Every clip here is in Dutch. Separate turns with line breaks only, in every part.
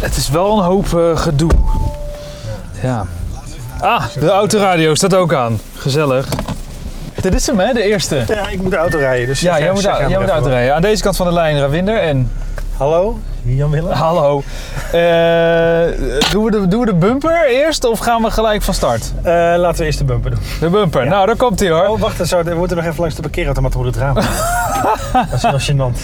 Het is wel een hoop eh, gedoe. Ja. Ah, de autoradio staat ook aan. Gezellig. Dit is hem, hè, de eerste.
Ja, ik moet de auto rijden. Dus
Ja,
zeg-
jij moet,
zeg
au- jij
maar
moet
even wat.
uitrijden. Aan deze kant van de lijn, Ravinder en...
Hallo, Jan Willem.
Hallo. Eh, doen, we de, doen we de bumper eerst of gaan we gelijk van start?
Eh, laten we eerst de bumper doen.
De bumper. Nou, daar komt hij hoor.
Oh, wacht, dan zou- dan wordt er nog even langs de parkeerautomaat door het raam. Dat is heel gênant.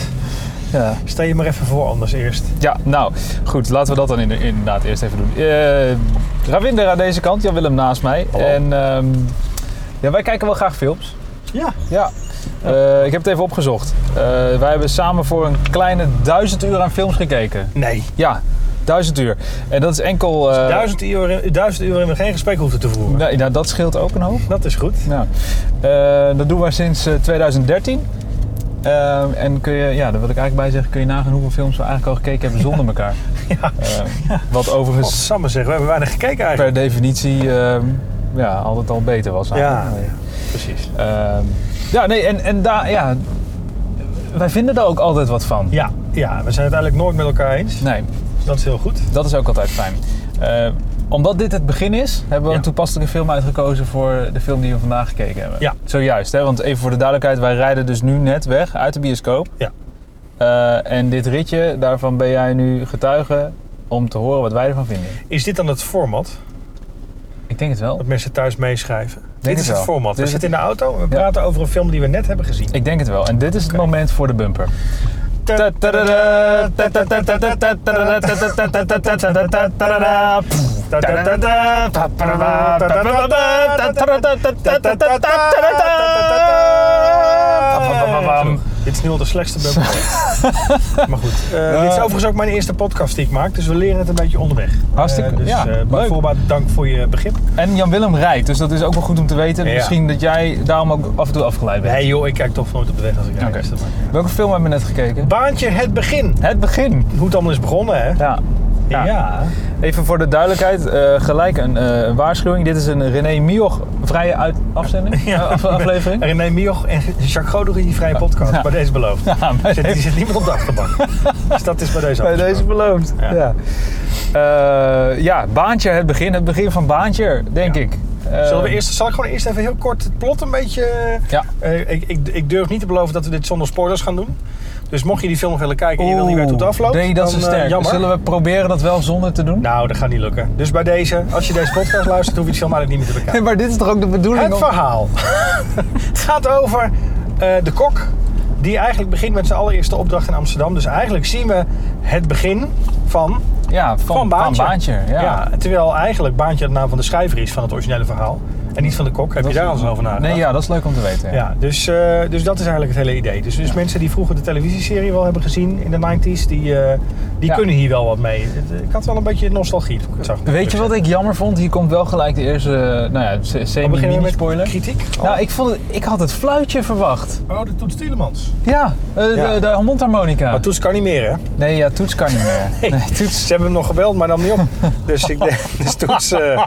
Ja.
Stel je maar even voor anders eerst.
Ja, nou goed, laten we dat dan in- inderdaad eerst even doen. Eh Ravinder aan deze kant, Jan Willem naast mij.
Hallo.
En ehm, ja, wij kijken wel graag films.
Ja.
Ja. ik heb het even opgezocht. Eh, wij hebben samen voor een kleine duizend uur aan films gekeken.
Nee.
Ja, duizend uur. En dat is enkel. eh,
duizend, uur, duizend uur in we geen gesprek hoefden te voeren.
Nee, nou, dat scheelt ook een hoop.
Dat is goed.
Nou, eh, dat doen we sinds eh, 2013. Ehm, en kun je, ja, daar wil ik eigenlijk bij zeggen, kun je nagaan hoeveel films we eigenlijk al gekeken hebben zonder elkaar.
Ja.
Eh, Wat overigens
Samen zeggen, we hebben weinig gekeken
per
eigenlijk.
definitie ehm, ja, altijd al beter was.
Ja,
eigenlijk.
precies.
Ehm, ja, nee, en, en daar, ja, wij vinden daar ook altijd wat van.
Ja, ja, we zijn het eigenlijk nooit met elkaar eens.
Nee,
Dus dat is heel goed.
dat is ook altijd fijn. Eh, omdat dit het begin is, hebben we
Ja.
een toepasselijke film uitgekozen voor de film die we vandaag gekeken hebben.
Ja.
Zojuist, hè? want even voor de duidelijkheid, wij rijden dus nu net weg uit de bioscoop.
Ja.
Eh, en dit ritje, daarvan ben jij nu getuige om te horen wat wij ervan vinden.
Is dit dan het format?
Ik denk het wel.
Dat mensen thuis meeschrijven? dit
het
is het
wel.
format.
Dit
We
is
zitten in de auto en we praten over een film die we net hebben gezien.
Ik denk het wel. En dit is het moment voor de bumper.
Dit is nu al de slechtste bumper. maar goed. eh, dit is overigens ook mijn eerste podcast die ik maak, dus we leren het een beetje onderweg.
Hartstikke,
Eh, dus,
ja,
eh,
leuk.
bij voorbaat dank voor je begrip.
En Jan Willem rijdt, dus dat is ook wel goed om te weten.
Ja.
Misschien dat jij daarom ook af en toe afgeleid bent.
Nee joh, ik kijk toch nooit op de weg als ik rijd.
Oké.
dus dat maakt niet uit.
Welke film hebben we net gekeken?
Baantje het begin.
Het begin.
Hoe het allemaal is begonnen hè?
Ja. Even voor de duidelijkheid, eh, gelijk een eh, waarschuwing. Dit is een René Mioch vrije uit afzending, eh, af- aflevering.
René Mioch en Jacques Goder in die vrije podcast.
Ja.
Bij deze beloofd.
Ja, bij
Zit,
deze-
die zit niemand op de achterbank. dus dat is bij deze
Bij
afgesproken.
deze beloond. Ja.
Ja.
Ja. Eh, ja, baantje, het begin. Het begin van baantje, denk
Ja.
ik. Eh,
Zullen we eerst, zal ik gewoon eerst even heel kort het plot een beetje...
Ja.
Eh, ik, ik, ik durf niet te beloven dat we dit zonder spoilers gaan doen. Dus mocht je die film nog willen kijken en je wil niet weten hoe het afloopt,
Nee, dat
dan,
is
eh,
sterk.
jammer.
Zullen we proberen dat wel zonder te doen?
Nou, dat gaat niet lukken. Dus bij deze, als je deze podcast luistert, hoef je de film eigenlijk niet meer te bekijken.
maar dit is toch ook de bedoeling
Het verhaal gaat over eh, de kok die eigenlijk begint met zijn allereerste opdracht in Amsterdam. Dus eigenlijk zien we het begin van,
Ja, van,
van Baantje.
Van baantje ja.
terwijl eigenlijk Baantje de naam van de schrijver is van het originele verhaal. En niet van de kok. Heb
Dat
je
is-
daar al eens over nagedacht?
Nee, ja, dat is leuk om te weten. ja.
Ja, dus, eh, dus dat is eigenlijk het hele idee. Dus, dus mensen die vroeger de televisieserie wel hebben gezien in de 90s, die, eh, die
Ja.
kunnen hier wel wat mee. Het- eh, Ik had wel een beetje nostalgie. toen ik het zag.
Weet je wat ik jammer vond? Hier komt wel gelijk de eerste, eh, nou ja, se-
Dan beginnen we met
semi-mini-spoiler.
kritiek.
Nou, ik, vond het, ik had het fluitje verwacht.
oh, de Toets Tielemans.
Ja, eh,
Ja.
De, de mondharmonica.
Maar Toets kan niet meer, hè?
Nee, ja, toets kan niet meer. Nee, toets.
Ze hebben hem nog gebeld, maar nam niet op. Dus ik denk- dus toets. eh,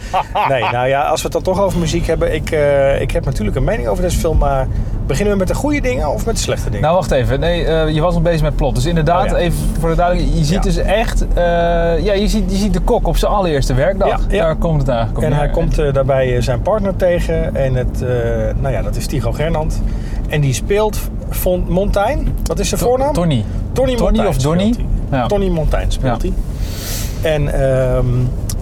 nee, nou ja, als we het dan toch over muziek hebben. Ik, eh, ik heb natuurlijk een mening over deze film, maar beginnen we met de goede dingen of met de slechte dingen?
Nou, wacht even. Nee, eh, je was nog bezig met plot. Dus inderdaad,
Oh, ja.
even voor de duidelijkheid. Je ziet
Ja.
dus echt... eh, ja, je ziet, je ziet de kok op zijn allereerste werkdag.
Ja, ja.
Daar komt het eigenlijk op
en hij
neer.
komt eh, daarbij eh, zijn partner tegen. En het, eh, nou ja, dat is Tigo Gernand. En die speelt Von Montijn. Wat is zijn
To-
voornaam?
Tony.
Tony
Tony
Montijn
of
speelt
Donnie?
hij.
Ja.
Tony Montijn speelt
Ja.
hij. En ehm,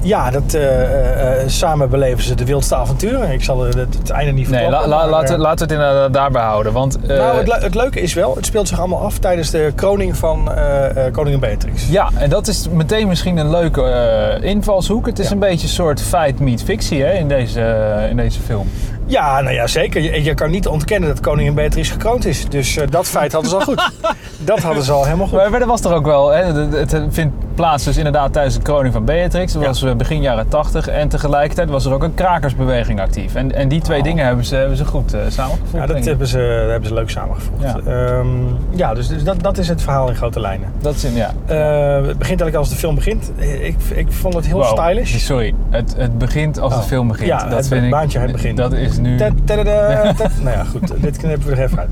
ja, dat, eh, eh, eh, samen beleven ze de wildste avonturen. Ik zal het, het, het einde niet
Nee,
verklappen.
la, la,
maar,
laten,
eh,
we- laten we het inderdaad daarbij houden. Want, eh,
nou, het, le- het leuke is wel, het speelt zich allemaal af tijdens de kroning van eh, eh, koningin Beatrix.
ja, en dat is meteen misschien een leuke eh, invalshoek. Het is een beetje een soort feit meet fictie hè, in, deze, eh, in deze film.
Ja, nou ja, zeker. Je, je kan niet ontkennen dat koningin Beatrix gekroond is. Dus eh, dat feit hadden ze al goed. dat hadden ze al helemaal goed.
Maar er was er ook wel, hè, het het vindt plaats dus inderdaad tijdens de kroning van Beatrix. Dat
Ja.
was eh, begin jaren 80. En tegelijkertijd was er ook een krakersbeweging actief. En, en die twee dingen hebben ze, hebben ze goed eh, samengevoegd.
Oh. Ja, dat
denk ik.
hebben ze, hebben ze leuk samengevoegd.
Ja.
Ja, ja dus, dus dat, dat is het verhaal in grote lijnen.
dat is in, ja.
Eh, het begint eigenlijk als de film begint. Ik, ik vond het heel
Wow.
stylish.
Sorry, het, het begint als
Oh.
de film begint.
Ja,
dat
het
vind ik,
baantje, het begin.
Dat is nu...
Ta- ta- ta- ta- ta- Nou ja, goed. Dit knippen we er even uit.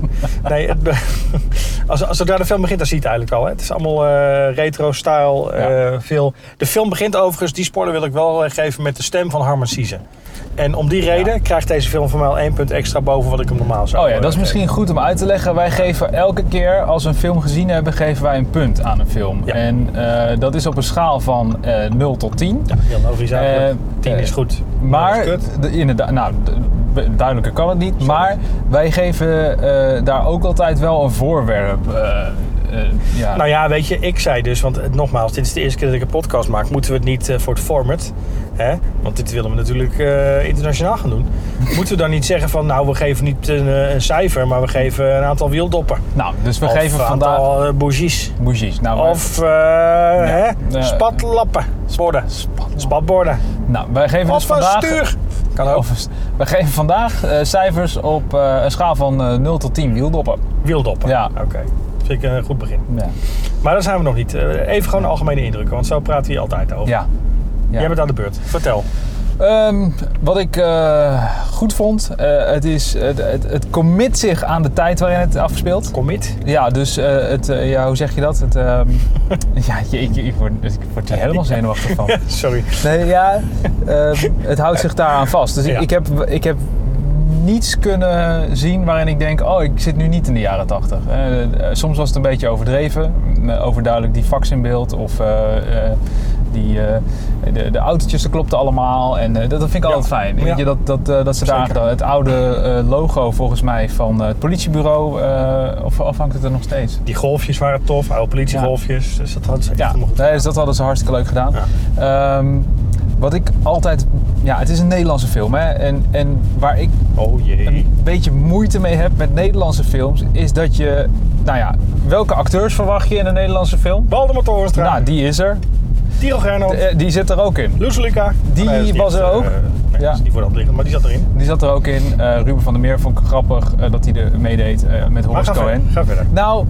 Nee, het be- als, als zodra nou de film begint, dan zie je het eigenlijk al. Hè. Het is allemaal eh, retro-style. eh, veel. De film begint overigens, die spoiler wil ik wel eh, geven, met de stem van Harman Siezen. En om die reden krijgt deze film voor mij al één punt extra boven wat ik hem normaal zou
Oh ja,
eh,
dat is
geven.
misschien goed om uit te leggen. Wij geven elke keer als we een film gezien hebben, geven wij een punt aan een film.
Ja.
En eh, dat is op een schaal van eh 0 tot 10.
Heel logisch eigenlijk.
Eh,
10
eh,
is goed.
Maar,
Dat is kut.
de- inderdaad, nou, de- duidelijker kan het niet. Maar wij geven eh, daar ook altijd wel een voorwerp. eh, eh, ja.
Nou ja, weet je, ik zei dus, want eh, nogmaals, dit is de eerste keer dat ik een podcast maak. Moeten we het niet eh, voor het format, hè? want dit willen we natuurlijk eh, internationaal gaan doen. Moeten we dan niet zeggen van, nou, we geven niet een, eh, een cijfer, maar we geven een aantal wieldoppen.
Nou, dus we
of
geven
een
vandaag...
aantal eh, bougies.
Bougies. Nou, wij-
Of eh, hè?
eh,
spatlappen. Borden. Spatborden.
nou, wij geven
Of
dus vandaag...
een stuur. Kan ook.
Of een st- wij geven vandaag eh, cijfers op eh, een schaal van eh, 0 tot 10 wieldoppen.
Wieldoppen.
Ja.
Oké. Vind ik een goed begin.
Ja.
Maar daar zijn we nog niet. Eh, Even gewoon de algemene indrukken, want zo praten we hier altijd over.
ja. Ja.
Jij bent aan de beurt. Vertel.
Ehm, wat ik eh, goed vond, eh, het, is, het, het, het commit zich aan de tijd waarin het afspeelt.
Commit.
Ja, dus eh, het, eh, ja, hoe zeg je dat? Het, ehm, ja, je, ik, ik word, ik word er helemaal zenuwachtig van.
Sorry.
Nee, ja, ehm, het houdt zich daaraan vast. Dus ik,
Ja.
ik, heb, ik heb niets kunnen zien waarin ik denk, oh, ik zit nu niet in de jaren tachtig. Eh, soms was het een beetje overdreven, eh, overduidelijk die fax in beeld of eh, eh, die, eh, de, de autootjes, dat klopte allemaal. En eh, dat, dat vind ik
Ja.
altijd fijn. Weet
Ja.
je, dat, dat, eh, dat ze daar
Zeker.
gedaan- het oude eh, logo volgens mij van eh, het politiebureau, eh, of, of hangt het er nog steeds?
Die golfjes waren tof, oude politiegolfjes. Dus dat had ze echt
Ja,
helemaal goed.
nee, dus dat hadden ze hartstikke leuk gedaan. Ehm, wat ik altijd... Ja, het is een Nederlandse film. Hè? En, en waar ik
Oh jee.
een beetje moeite mee heb met Nederlandse films... is dat je... Nou ja, welke acteurs verwacht je in een Nederlandse film?
Waldemar Torenstra,
Nou, die is er.
Tiro Gerno,
Eh, die zit er ook in.
Lucica.
die was er ook.
eh, nee,
Ja.
dat is niet voor de hand liggend, maar die zat erin.
Die zat er ook in. Eh, Ruben van der Meer vond ik grappig eh, dat hij er meedeed eh, met
Maar
Horace
ga verder.
Cohen.
Ga verder.
Nou,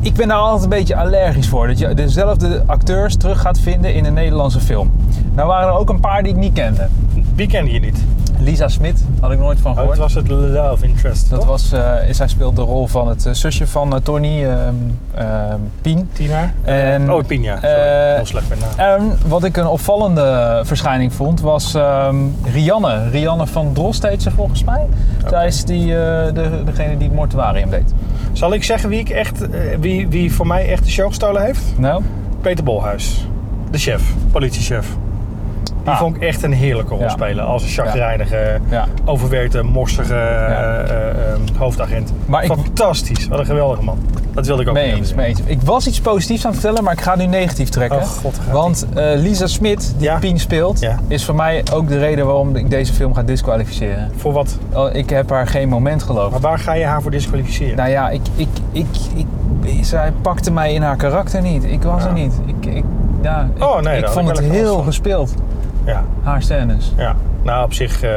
ik ben daar altijd een beetje allergisch voor. Dat je dezelfde acteurs terug gaat vinden in een Nederlandse film. Nou waren er ook een paar die ik niet kende.
Wie kende je niet?
Lisa Smit, had ik nooit van
Oh,
gehoord.
het was het Love Interest,
dat
toch?
was, eh, zij speelt de rol van het eh, zusje van eh, Tony, ehm, ehm, Pien.
Tina.
En,
Oh, Pina. Sorry,
Eh,
heel slecht met naam.
en wat ik een opvallende verschijning vond, was ehm, Rianne. Rianne van Drost heet ze volgens mij. Zij is die, eh, de, degene die het mortuarium deed.
Zal ik zeggen wie, ik echt, eh, wie, wie voor mij echt de show gestolen heeft?
Nou,
Peter Bolhuis. De chef. Politiechef. Die
Ah.
vond ik echt een heerlijke rol
Ja.
spelen. Als een chagrijnige,
Ja.
overwerkte, morsige eh, eh, eh, hoofdagent.
Maar ik-
Fantastisch. Wat een geweldige man. Dat wilde ik ook
mee
nog
eens,
even
mee eens. Ik was iets positiefs aan het vertellen, maar ik ga nu negatief trekken.
Oh, god, gaat-ie.
want eh, Lisa Smit, die
Ja.
Pien speelt,
Ja.
is voor mij ook de reden waarom ik deze film ga disqualificeren.
zeggen. Voor wat?
Oh, Ik heb haar geen moment geloofd.
Maar waar ga je haar voor disqualificeren?
Nou ja, ik, ik, ik, ik, zij pakte mij in haar karakter niet. Ik was er niet. Ik, ik, ja, ik,
Oh, nee,
ik
daar
vond
had
het
ik wel last
heel
van.
gespeeld,
Ja.
haar scènes.
ja. Nou, op zich eh,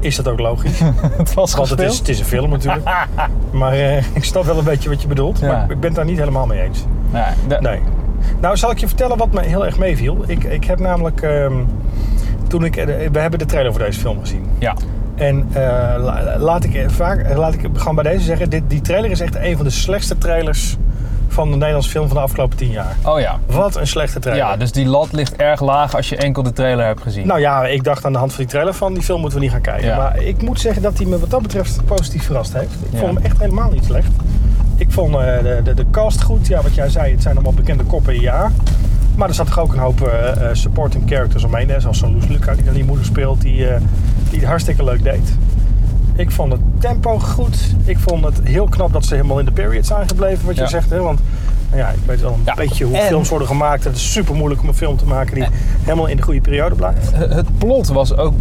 is dat ook logisch.
Het was
Want het
gespeeld.
is, het is een film natuurlijk. maar eh, ik snap wel een beetje wat je bedoelt.
Ja.
Maar ik ben het daar niet helemaal mee eens.
Nee, da-
Nee. Nou, zal ik je vertellen wat me heel erg meeviel. Ik, ik heb namelijk... ehm, toen ik, eh, we hebben de trailer voor deze film gezien.
Ja.
En eh, la- laat, ik eh, vaak, eh, laat ik gewoon bij deze zeggen... Dit, die trailer is echt een van de slechtste trailers... van de Nederlandse film van de afgelopen tien jaar.
Oh ja.
Wat een slechte trailer.
Ja, dus die lat ligt erg laag als je enkel de trailer hebt gezien.
Nou ja, ik dacht aan de hand van die trailer van die film moeten we niet gaan kijken.
Ja.
Maar ik moet zeggen dat hij me wat dat betreft positief verrast heeft. Ik
Ja.
vond hem echt helemaal niet slecht. Ik vond eh, de, de, de cast goed. Ja, wat jij zei, het zijn allemaal bekende koppen, ja. Maar er zat toch ook een hoop eh, eh, supporting characters omheen. Hè? Zoals zo'n Loes Luca die dan die moeder speelt, die, eh, die het hartstikke leuk deed. Ik vond het tempo goed. Ik vond het heel knap dat ze helemaal in de period zijn gebleven, wat
Ja.
je zegt. Hè? Want nou ja, ik weet wel een
Ja,
beetje hoe
en-
films worden gemaakt. Het is super moeilijk om een film te maken die helemaal in de goede periode blijft.
Het- Het plot was ook,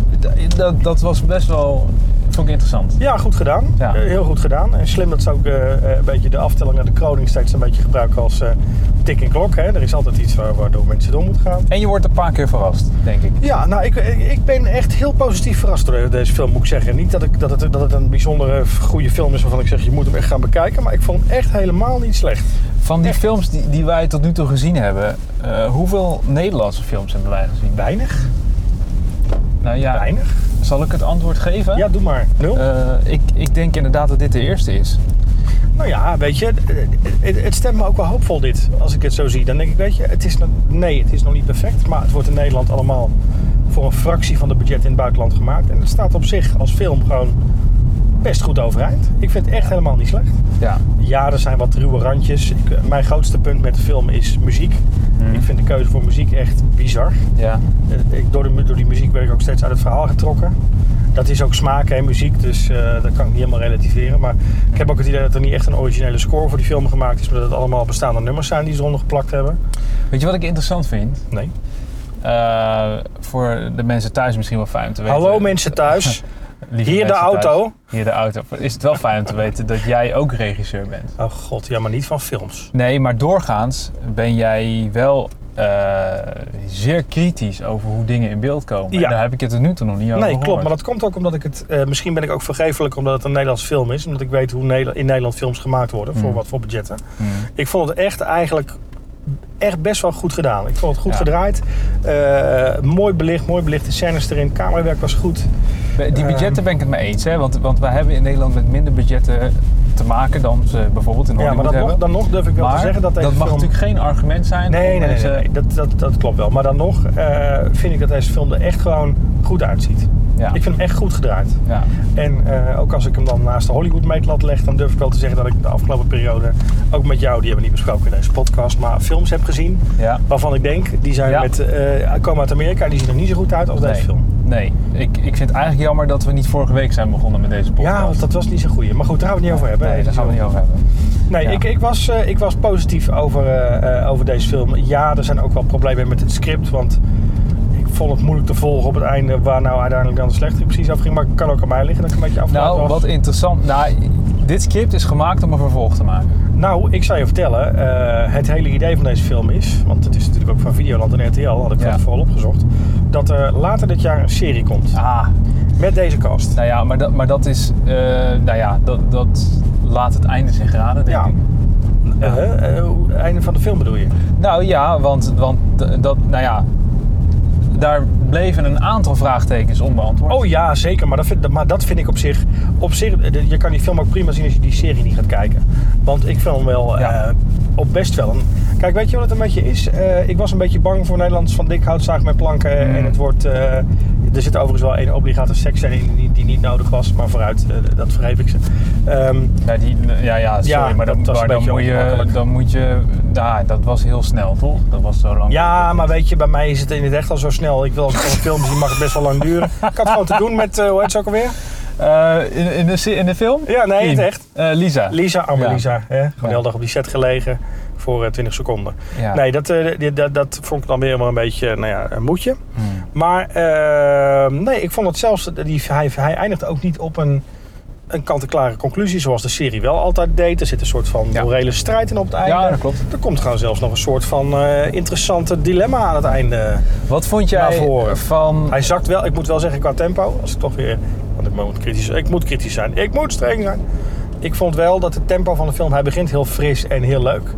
dat, dat was best wel, vond ik interessant.
Ja, goed gedaan.
Ja.
Eh, Heel goed gedaan. En slim dat ze ook eh, eh, een beetje de aftelling naar de kroning steeds een beetje gebruiken als eh, tik en klok. Hè. Er is altijd iets waar, waardoor mensen door moeten gaan.
En je wordt een paar keer verrast, denk ik.
Ja, nou, ik, ik ik ben echt heel positief verrast door deze film, moet ik zeggen. Niet dat, ik, dat, het, dat het een bijzondere eh, goede film is waarvan ik zeg, je moet hem echt gaan bekijken. Maar ik vond hem echt helemaal niet slecht.
Van die films die, die wij tot nu toe gezien hebben, eh, hoeveel Nederlandse films hebben wij gezien?
Weinig.
Nou ja,
Weinig?
zal ik het antwoord geven?
Ja, doe maar. Nul?
Eh, ik, ik denk inderdaad dat dit de eerste is.
Nou ja, weet je, het, het stemt me ook wel hoopvol dit. Als ik het zo zie, dan denk ik, weet je, het is nog, nee, het is nog niet perfect. Maar het wordt in Nederland allemaal voor een fractie van de budget in het buitenland gemaakt. En het staat op zich als film gewoon best goed overeind. Ik vind het echt helemaal niet slecht.
Ja.
Ja, er zijn wat ruwe randjes. Ik- eh, mijn grootste punt met de film is muziek.
Mhm.
Ik vind de keuze voor muziek echt bizar.
Ja.
Eh, Ik, door, de, mu- door die muziek ben ik ook steeds uit het verhaal getrokken. Dat is ook smaak en muziek, dus eh, dat kan ik niet helemaal relativeren. Maar ik heb ook het idee dat er niet echt een originele score voor die film gemaakt is, maar dat het allemaal bestaande nummers zijn die ze eronder geplakt hebben.
Weet je wat ik interessant vind?
Nee.
Eh, voor de mensen thuis misschien wel fijn om te weten.
Hallo mensen thuis,
Lieve
hier de
mensen thuis.
auto.
Hier de auto. Is het wel fijn om te weten dat jij ook regisseur bent?
Oh god, ja, maar niet van films.
Nee, maar doorgaans ben jij wel eh, zeer kritisch over hoe dingen in beeld komen. En
Ja.
daar heb ik het er nu toe nog niet over
Nee, klopt.
gehoord.
Maar dat komt ook omdat ik het. eh, misschien ben ik ook vergeeflijk omdat het een Nederlands film is. Omdat ik weet hoe Neder- in Nederland films gemaakt worden. Voor
Mm.
wat voor budgetten.
Hmm.
Ik vond het echt eigenlijk echt best wel goed gedaan. Ik vond het goed
Ja.
gedraaid. Eh, mooi belicht, mooi belichte scènes erin. Camerawerk was goed.
Bij Oh, Die budgetten ben ik het mee eens, hè? Want, want wij hebben in Nederland met minder budgetten te maken dan ze bijvoorbeeld in
Ja,
Hollywood
maar dat nog,
hebben.
dan nog durf ik wel
maar
te zeggen dat deze
mag
film...
natuurlijk geen argument zijn.
Nee,
om
nee, nee,
deze-
nee, nee. Dat, dat, dat klopt wel. Maar dan nog eh, vind ik dat deze film er echt gewoon goed uitziet.
Ja.
Ik vind hem echt goed gedraaid.
ja.
En eh, ook als ik hem dan naast de Hollywood-meetlat leg, dan durf ik wel te zeggen dat ik de afgelopen periode, ook met jou, die hebben we niet besproken in deze podcast, maar films heb gezien
ja.
waarvan ik denk, die zijn
Ja.
met, eh, komen uit Amerika en die zien er niet zo goed uit als deze
Nee.
film.
Nee, ik, ik vind het eigenlijk jammer dat we niet vorige week zijn begonnen met deze podcast.
Ja, want dat was niet zo'n goeie. Maar goed, daar gaan we het niet over hebben.
Nee, daar gaan we niet over hebben.
Nee,
Ja.
ik, ik, was, eh, ik was positief over, eh, eh, over deze film. Ja, er zijn ook wel problemen met het script, want ik vond het moeilijk te volgen op het einde waar nou uiteindelijk dan de slechte precies afging. Maar het kan ook aan mij liggen dat ik een beetje afgeleid
Nou,
was.
wat interessant. Nou, dit script is gemaakt om een vervolg te maken.
Nou, ik zou je vertellen, eh, het hele idee van deze film is, want het is natuurlijk ook van Videoland en RTL, had ik
Ja.
het vooral opgezocht, dat er later dit jaar een serie komt
Ah,
met deze cast.
nou ja, maar dat, maar dat is. eh, nou ja, dat, dat laat het einde zich raden, denk
Ja.
ik.
Eh, eh, hoe- einde van de film bedoel je?
Nou ja, want, want d- dat, nou ja, daar bleven een aantal vraagtekens onbeantwoord.
Oh ja, zeker, maar dat vind, maar dat vind ik op zich, op zich, eh, je kan die film ook prima zien als je die serie niet gaat kijken. Want ik vind hem wel
Ja.
eh, op best wel een... Kijk, weet je wat het een beetje is? Eh, ik was een beetje bang voor Nederlands van dik hout zaag met planken
Mm.
en het wordt... eh, er zit overigens wel één obligate seksscène in die, die niet nodig was, maar vooruit, eh, dat vergeef ik ze. Ehm,
Ja, die, ja, ja, sorry,
Ja,
maar, dan,
dat was
maar
een
dan,
beetje
moet je,
ongemakkelijk.
dan moet je... Nou, dat was heel snel, toch? Dat was zo lang.
Ja, maar weet je, bij mij is het in het echt al zo snel. Ik wil als ik een film zien, mag het best wel lang duren. Ik had gewoon te doen met, eh, hoe heet ze ook alweer?
Eh, in, in, de, se- in de film?
Ja, nee, het
Team.
echt.
Eh, Lisa.
Lisa, arme
Ja.
Lisa. Hè? Gewoon
Ja.
de hele dag op die set gelegen voor eh, 20 seconden.
Ja.
Nee, dat, eh, die- dat, dat vond ik dan weer maar een beetje, nou ja, een moedje.
Hmm.
Maar eh, nee, ik vond het zelfs, eh, die, hij, hij eindigt ook niet op een, een kant-en-klare conclusie, zoals de serie wel altijd deed. Er zit een soort van
Ja.
morele strijd in op het einde.
Ja, dat klopt.
Er komt gewoon zelfs nog een soort van eh, interessante dilemma aan het einde.
Wat vond
Naar
jij
voren.
van...
Nou, Hij zakt wel, ik moet wel zeggen qua tempo, als ik toch weer, want ik moet kritisch, ik moet kritisch zijn, ik moet streng zijn. Ik vond wel dat het tempo van de film, hij begint heel fris en heel leuk.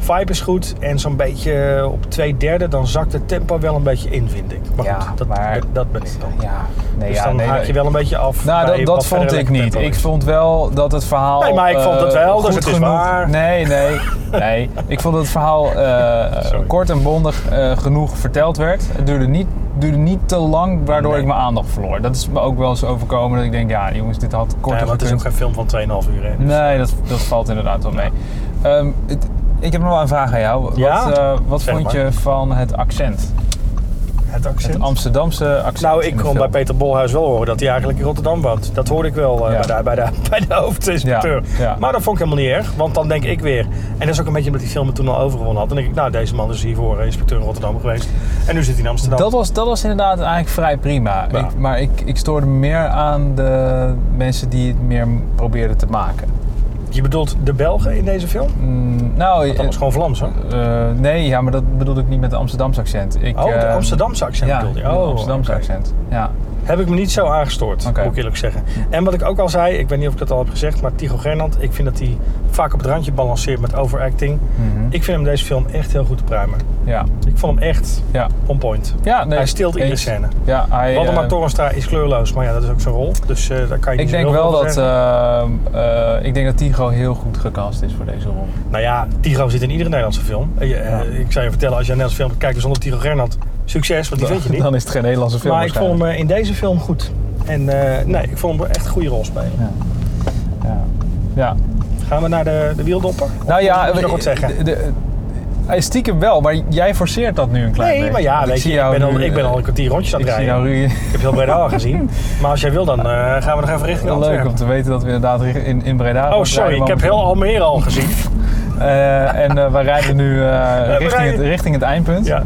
Vibe is goed en zo'n beetje op twee derde, dan zakt het tempo wel een beetje in, vind ik. Maar
Ja,
goed, dat,
maar-
dat, dat ben ik dan.
Ja, nee,
dus
ja,
dan
nee,
haak je wel een beetje af.
Nou,
bij
dat,
wat
dat
verder
vond ik
lekker
niet.
tempo
Ik
is.
vond wel dat het verhaal.
Nee, maar ik vond het
eh,
wel, dus
goed
het is
genoeg-
waar.
Nee, nee, nee. Ik vond dat het verhaal eh,
Sorry.
kort en bondig eh, genoeg verteld werd. Het duurde niet, duurde niet te lang, waardoor
Nee.
ik mijn aandacht verloor. Dat is me ook wel eens overkomen dat ik denk, ja, jongens, dit had
Ja,
korter
maar het is ook
gekund.
geen film van 2,5 uur. Hè.
Nee, dat, dat valt inderdaad wel mee. Ehm, het- ik heb nog wel een vraag aan jou.
Ja?
Wat, eh, wat
Zeg
vond
maar.
je van het accent?
Het accent.
Het Amsterdamse accent.
Nou,
in
ik
de
kon bij
film.
Peter Bolhuis wel horen dat hij eigenlijk in Rotterdam woont. Dat hoorde ik wel eh,
Ja.
bij, de, bij, de, bij de hoofdinspecteur.
Ja, ja.
Maar dat vond ik helemaal niet erg, want dan denk ik weer. En dat is ook een beetje omdat die film het toen al overgewonnen had. Dan denk ik, nou, deze man is hiervoor eh, inspecteur in Rotterdam geweest. En nu zit hij in Amsterdam.
Dat was, dat was inderdaad eigenlijk vrij prima.
Ja.
Ik, maar ik, ik stoorde me meer aan de mensen die het meer m- probeerden te maken.
Je bedoelt de Belgen in deze film?
Mm, nou,
Dat was gewoon Vlaams, hoor.
eh, nee, ja, maar dat bedoelde ik niet met het Amsterdamse accent. Ik,
Oh, de
eh,
Amsterdamse accent
ja,
bedoelde je?
het
Oh,
Amsterdamse
oké.
accent. Ja.
Heb ik me niet zo aangestoord,
Oké.
moet ik eerlijk zeggen. En wat ik ook al zei, ik weet niet of ik dat al heb gezegd, maar Tycho Gernand, ik vind dat hij vaak op het randje balanceert met overacting.
Mhm.
Ik vind hem deze film echt heel goed te pruimen.
Ja,
Ik vond hem echt
ja.
on point.
ja nee,
Hij stilt iedere
eens.
scène.
Ja, hij,
Waldemar
eh,
Torenstra is kleurloos, maar ja, dat is ook zijn rol. Dus eh, daar kan je
ik
niet
denk
zo heel
wel
veel
dat,
zeggen.
eh, eh, ik denk dat Tigo heel goed gecast is voor deze rol.
Nou ja, Tigo zit in iedere Nederlandse film. Eh, je- eh,
eh, Ja.
Ik zou je vertellen, als je een Nederlandse film kijkt dus zonder Tigo Gernand, succes, want die vind je niet.
Dan is het geen Nederlandse film
maar ik vond hem eh, in deze film goed. En eh, nee, ik vond hem eh, echt een goede rol spelen.
waarschijnlijk. Ja. ja.
Gaan we naar de, de wieldopper?
Nou ja,
Moet je nog
we-
wat zeggen?
de- de- eh, stiekem wel, maar jij forceert dat nu een klein
Nee,
beetje.
maar ja,
Want
weet
zie
je, ik
jou
ben, al,
nu,
ik ben
eh,
al een kwartier rondjes aan
Ik
het
zie
rijden.
jou nu...
Ik heb heel Breda al gezien. Maar als jij wil, dan eh, gaan we nog even richting
Leuk
Antwerpen.
om te weten dat we inderdaad in, in Breda...
Oh, sorry, ik heb heel Almere al gezien.
Eh, en eh, we rijden nu eh, richting,
rijden-
Het, richting het eindpunt.
Ja.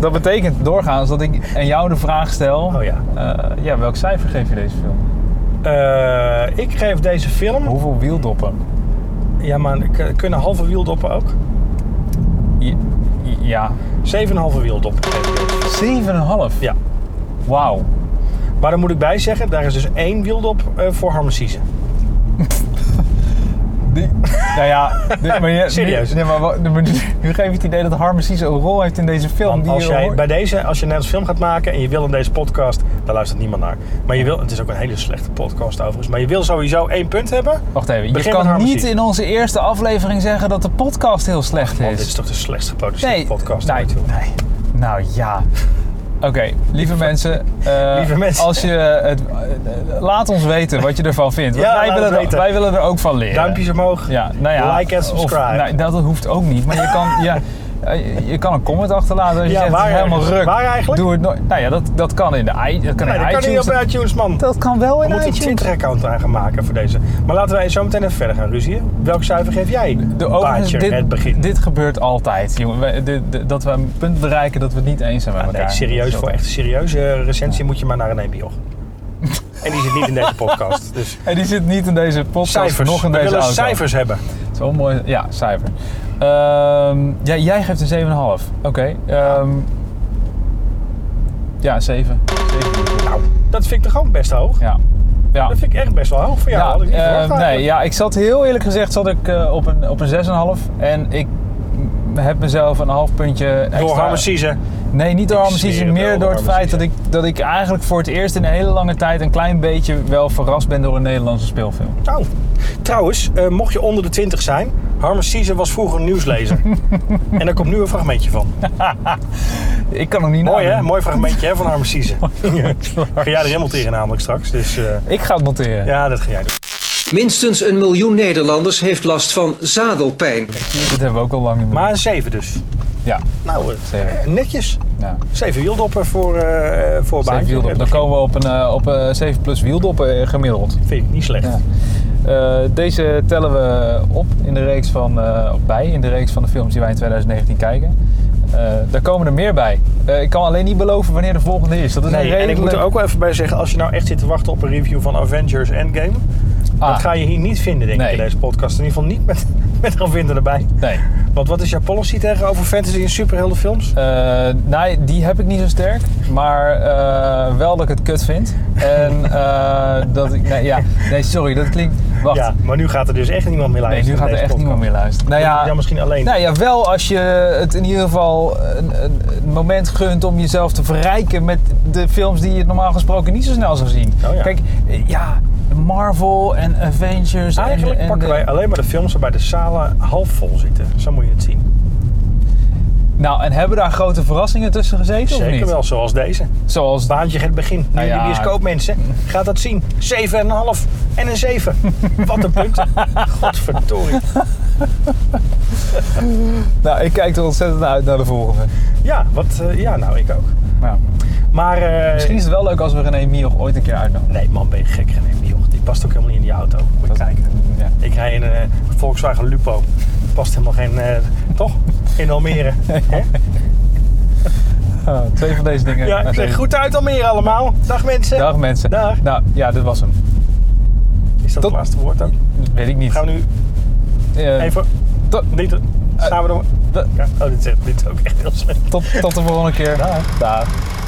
Dat betekent doorgaans dat ik aan jou de vraag stel...
Oh ja.
eh, ja, welk cijfer geef je deze film?
Eh, ik geef deze film...
Hoeveel wieldoppen?
Ja, maar k- kunnen halve wieldoppen ook?
Je- Ja,
7,5 wieldoppen. geef ik deze.
7,5.
Ja.
Wauw.
Maar dan moet ik bij zeggen, daar is dus één wieldop eh, voor Harmesize.
Oh, Die- nou ja, dit- maar je-
Serieus?
Nu, nee, maar, wa- maar nu, nu geef je het idee dat Harm Sisse een rol heeft in deze film.
Want
die eh,
als
je
jij
hoort-
bij deze, als je net als film gaat maken en je wil in deze podcast, daar luistert niemand naar. Maar je wil, het is ook een hele slechte podcast overigens, maar je wil sowieso één punt hebben.
Wacht even, je
Begin met
kan
Harm
niet
Sisse.
in onze eerste aflevering zeggen dat de podcast heel slecht
Want dit
is.
is toch de slechtst geproduceerde podcast
nee,
ooit, joh.
nee. Nou ja. Oké, lieve mensen, eh,
Lieve mensen.
Als je het, eh, eh, laat ons weten wat je ervan vindt. Want
Ja,
wij,
laat
willen
het
er,
weten.
wij willen er ook van leren.
Duimpjes omhoog.
Ja, nou ja.
Like en
of-
subscribe.
nou, dat hoeft ook niet, maar je kan, ja, eh, je kan een comment achterlaten als je
Ja,
zegt
waar
het is helemaal
eigenlijk?
ruk.
Waar eigenlijk?
Doe het nooit. Nou ja, dat, dat kan in de i- dat kan
Nee,
in
dat kan niet
iTunes.
op iTunes, man.
dat kan wel
We
in
moeten een
iTunes.
Twitter-account aan gaan maken voor deze. Maar laten wij zo meteen even verder gaan ruzien. Welk cijfer geef jij?
De
Paatje,
overigens,
het begin.
dit, dit gebeurt altijd, jongen. Wij- dit- dit- dat we een punt bereiken dat we het niet eens zijn met elkaar.
Ah, nee, serieus, voor echt een serieuze recensie moet je maar naar een Bioch. en die zit niet in deze podcast. Dus
En die zit niet in deze podcast,
cijfers.
nog in
we
deze
willen
auto.
cijfers hebben.
Zo mooi. Ja, cijfer. Ehm, ja, jij geeft een 7,5. Oké. ehm, ja, 7.
Nou, dat vind ik toch ook best hoog?
Ja. ja.
Dat vind ik echt best wel hoog voor jou.
ja,
had ik niet
eh,
verwacht
nee,
eigenlijk.
ja, ik zat heel eerlijk gezegd zat ik, eh, op een, op een 6,5. En ik m- heb mezelf een half puntje extra...
Door Hammer Season.
Nee, niet door
Ik
Harmsiezen,
zweer het wel,
meer door het
door
feit dat ik,
Harmsiezen.
dat ik eigenlijk voor het eerst in een hele lange tijd een klein beetje wel verrast ben door een Nederlandse speelfilm.
Nou, trouwens, eh, mocht je onder de 20 zijn, Harmer Season was vroeger een nieuwslezer. en daar komt nu een fragmentje van.
Ik kan hem niet
Mooi hè,
nadoen.
mooi fragmentje hè, van Harmer Season. ga jij er helemaal tegen namelijk straks. Dus eh,
Ik ga het monteren.
ja, dat ga jij doen.
Minstens een miljoen Nederlanders heeft last van zadelpijn.
Dit hebben we ook al lang niet meer.
Maar een 7 dus.
ja,
Nou, eh,
Zeven.
netjes.
ja.
7 wieldoppen voor, eh eh, voor
Zeven
baantje.
wieldoppen. Dan komen we op een, eh, op een 7 plus wieldoppen eh, gemiddeld.
Vind ik niet slecht.
Ja. Eh, deze tellen we op in de reeks van, eh, of bij in de reeks van de films die wij in 2019 kijken. Eh, daar komen er meer bij. Eh, ik kan alleen niet beloven wanneer de volgende is. Dat is een
Nee, en ik moet
redelijk-
er ook wel even bij zeggen, als je nou echt zit te wachten op een review van Avengers Endgame,
Ah,
dat ga je hier niet vinden, denk
Nee.
ik, in deze podcast. In ieder geval niet met, met gaan vinden erbij.
Nee.
Want wat is jouw policy tegenover fantasy en superheldenfilms?
Eh, nee, die heb ik niet zo sterk. Maar eh, wel dat ik het kut vind. En eh, dat ik. Nee, ja, nee, sorry, dat klinkt. Wacht.
Ja, maar nu gaat er dus echt niemand meer
nee,
luisteren.
nu gaat er
naar
echt
deze
niemand meer luisteren. Nou ja,
Ja, misschien alleen.
Nou ja, wel als je het in ieder geval een, een- een moment gunt om jezelf te verrijken met de films die je normaal gesproken niet zo snel zou zien.
Oh ja.
Kijk, eh, ja, Marvel en Avengers. en-
Eigenlijk
en,
pakken
de-
wij alleen maar de films waarbij de zalen half vol zitten. Zo moet je het zien.
Nou, en hebben daar grote verrassingen tussen gezeten? of
Zeker
niet?
wel, zoals deze.
Zoals
Baantje het begin. Nu
Nou
in
ja.
de bioscoop, mensen. Gaat dat zien. 7,5 en een 7. Wat een punten. Godverdorie.
Nou, ik kijk er ontzettend naar uit naar de volgende.
Ja, wat, eh, ja, nou, ik ook.
Ja.
Maar... eh,
Misschien is het wel leuk als we René Mioch ooit een keer uitnodigen.
Nee, man, ben je gek. René Mioch. Die past ook helemaal niet in die auto. Moet je kijken.
Ja.
Ik rij in een eh, Volkswagen Lupo. Past helemaal geen... eh, toch? In Almere. Hè?
Ah, twee van deze dingen.
Ja,
uit
ik zeg
deze-
goed uit Almere allemaal. Dag mensen.
Dag mensen.
Dag.
Nou, ja, dit was hem.
Is dat
Tot-
het laatste woord ook?
Weet ik niet.
Gaan we nu
Eh,
even...
tot,
Niet, gaan we door...
da-
Ja, oh, dit is, dit is ook echt heel slecht.
tot, tot de volgende keer. Dag.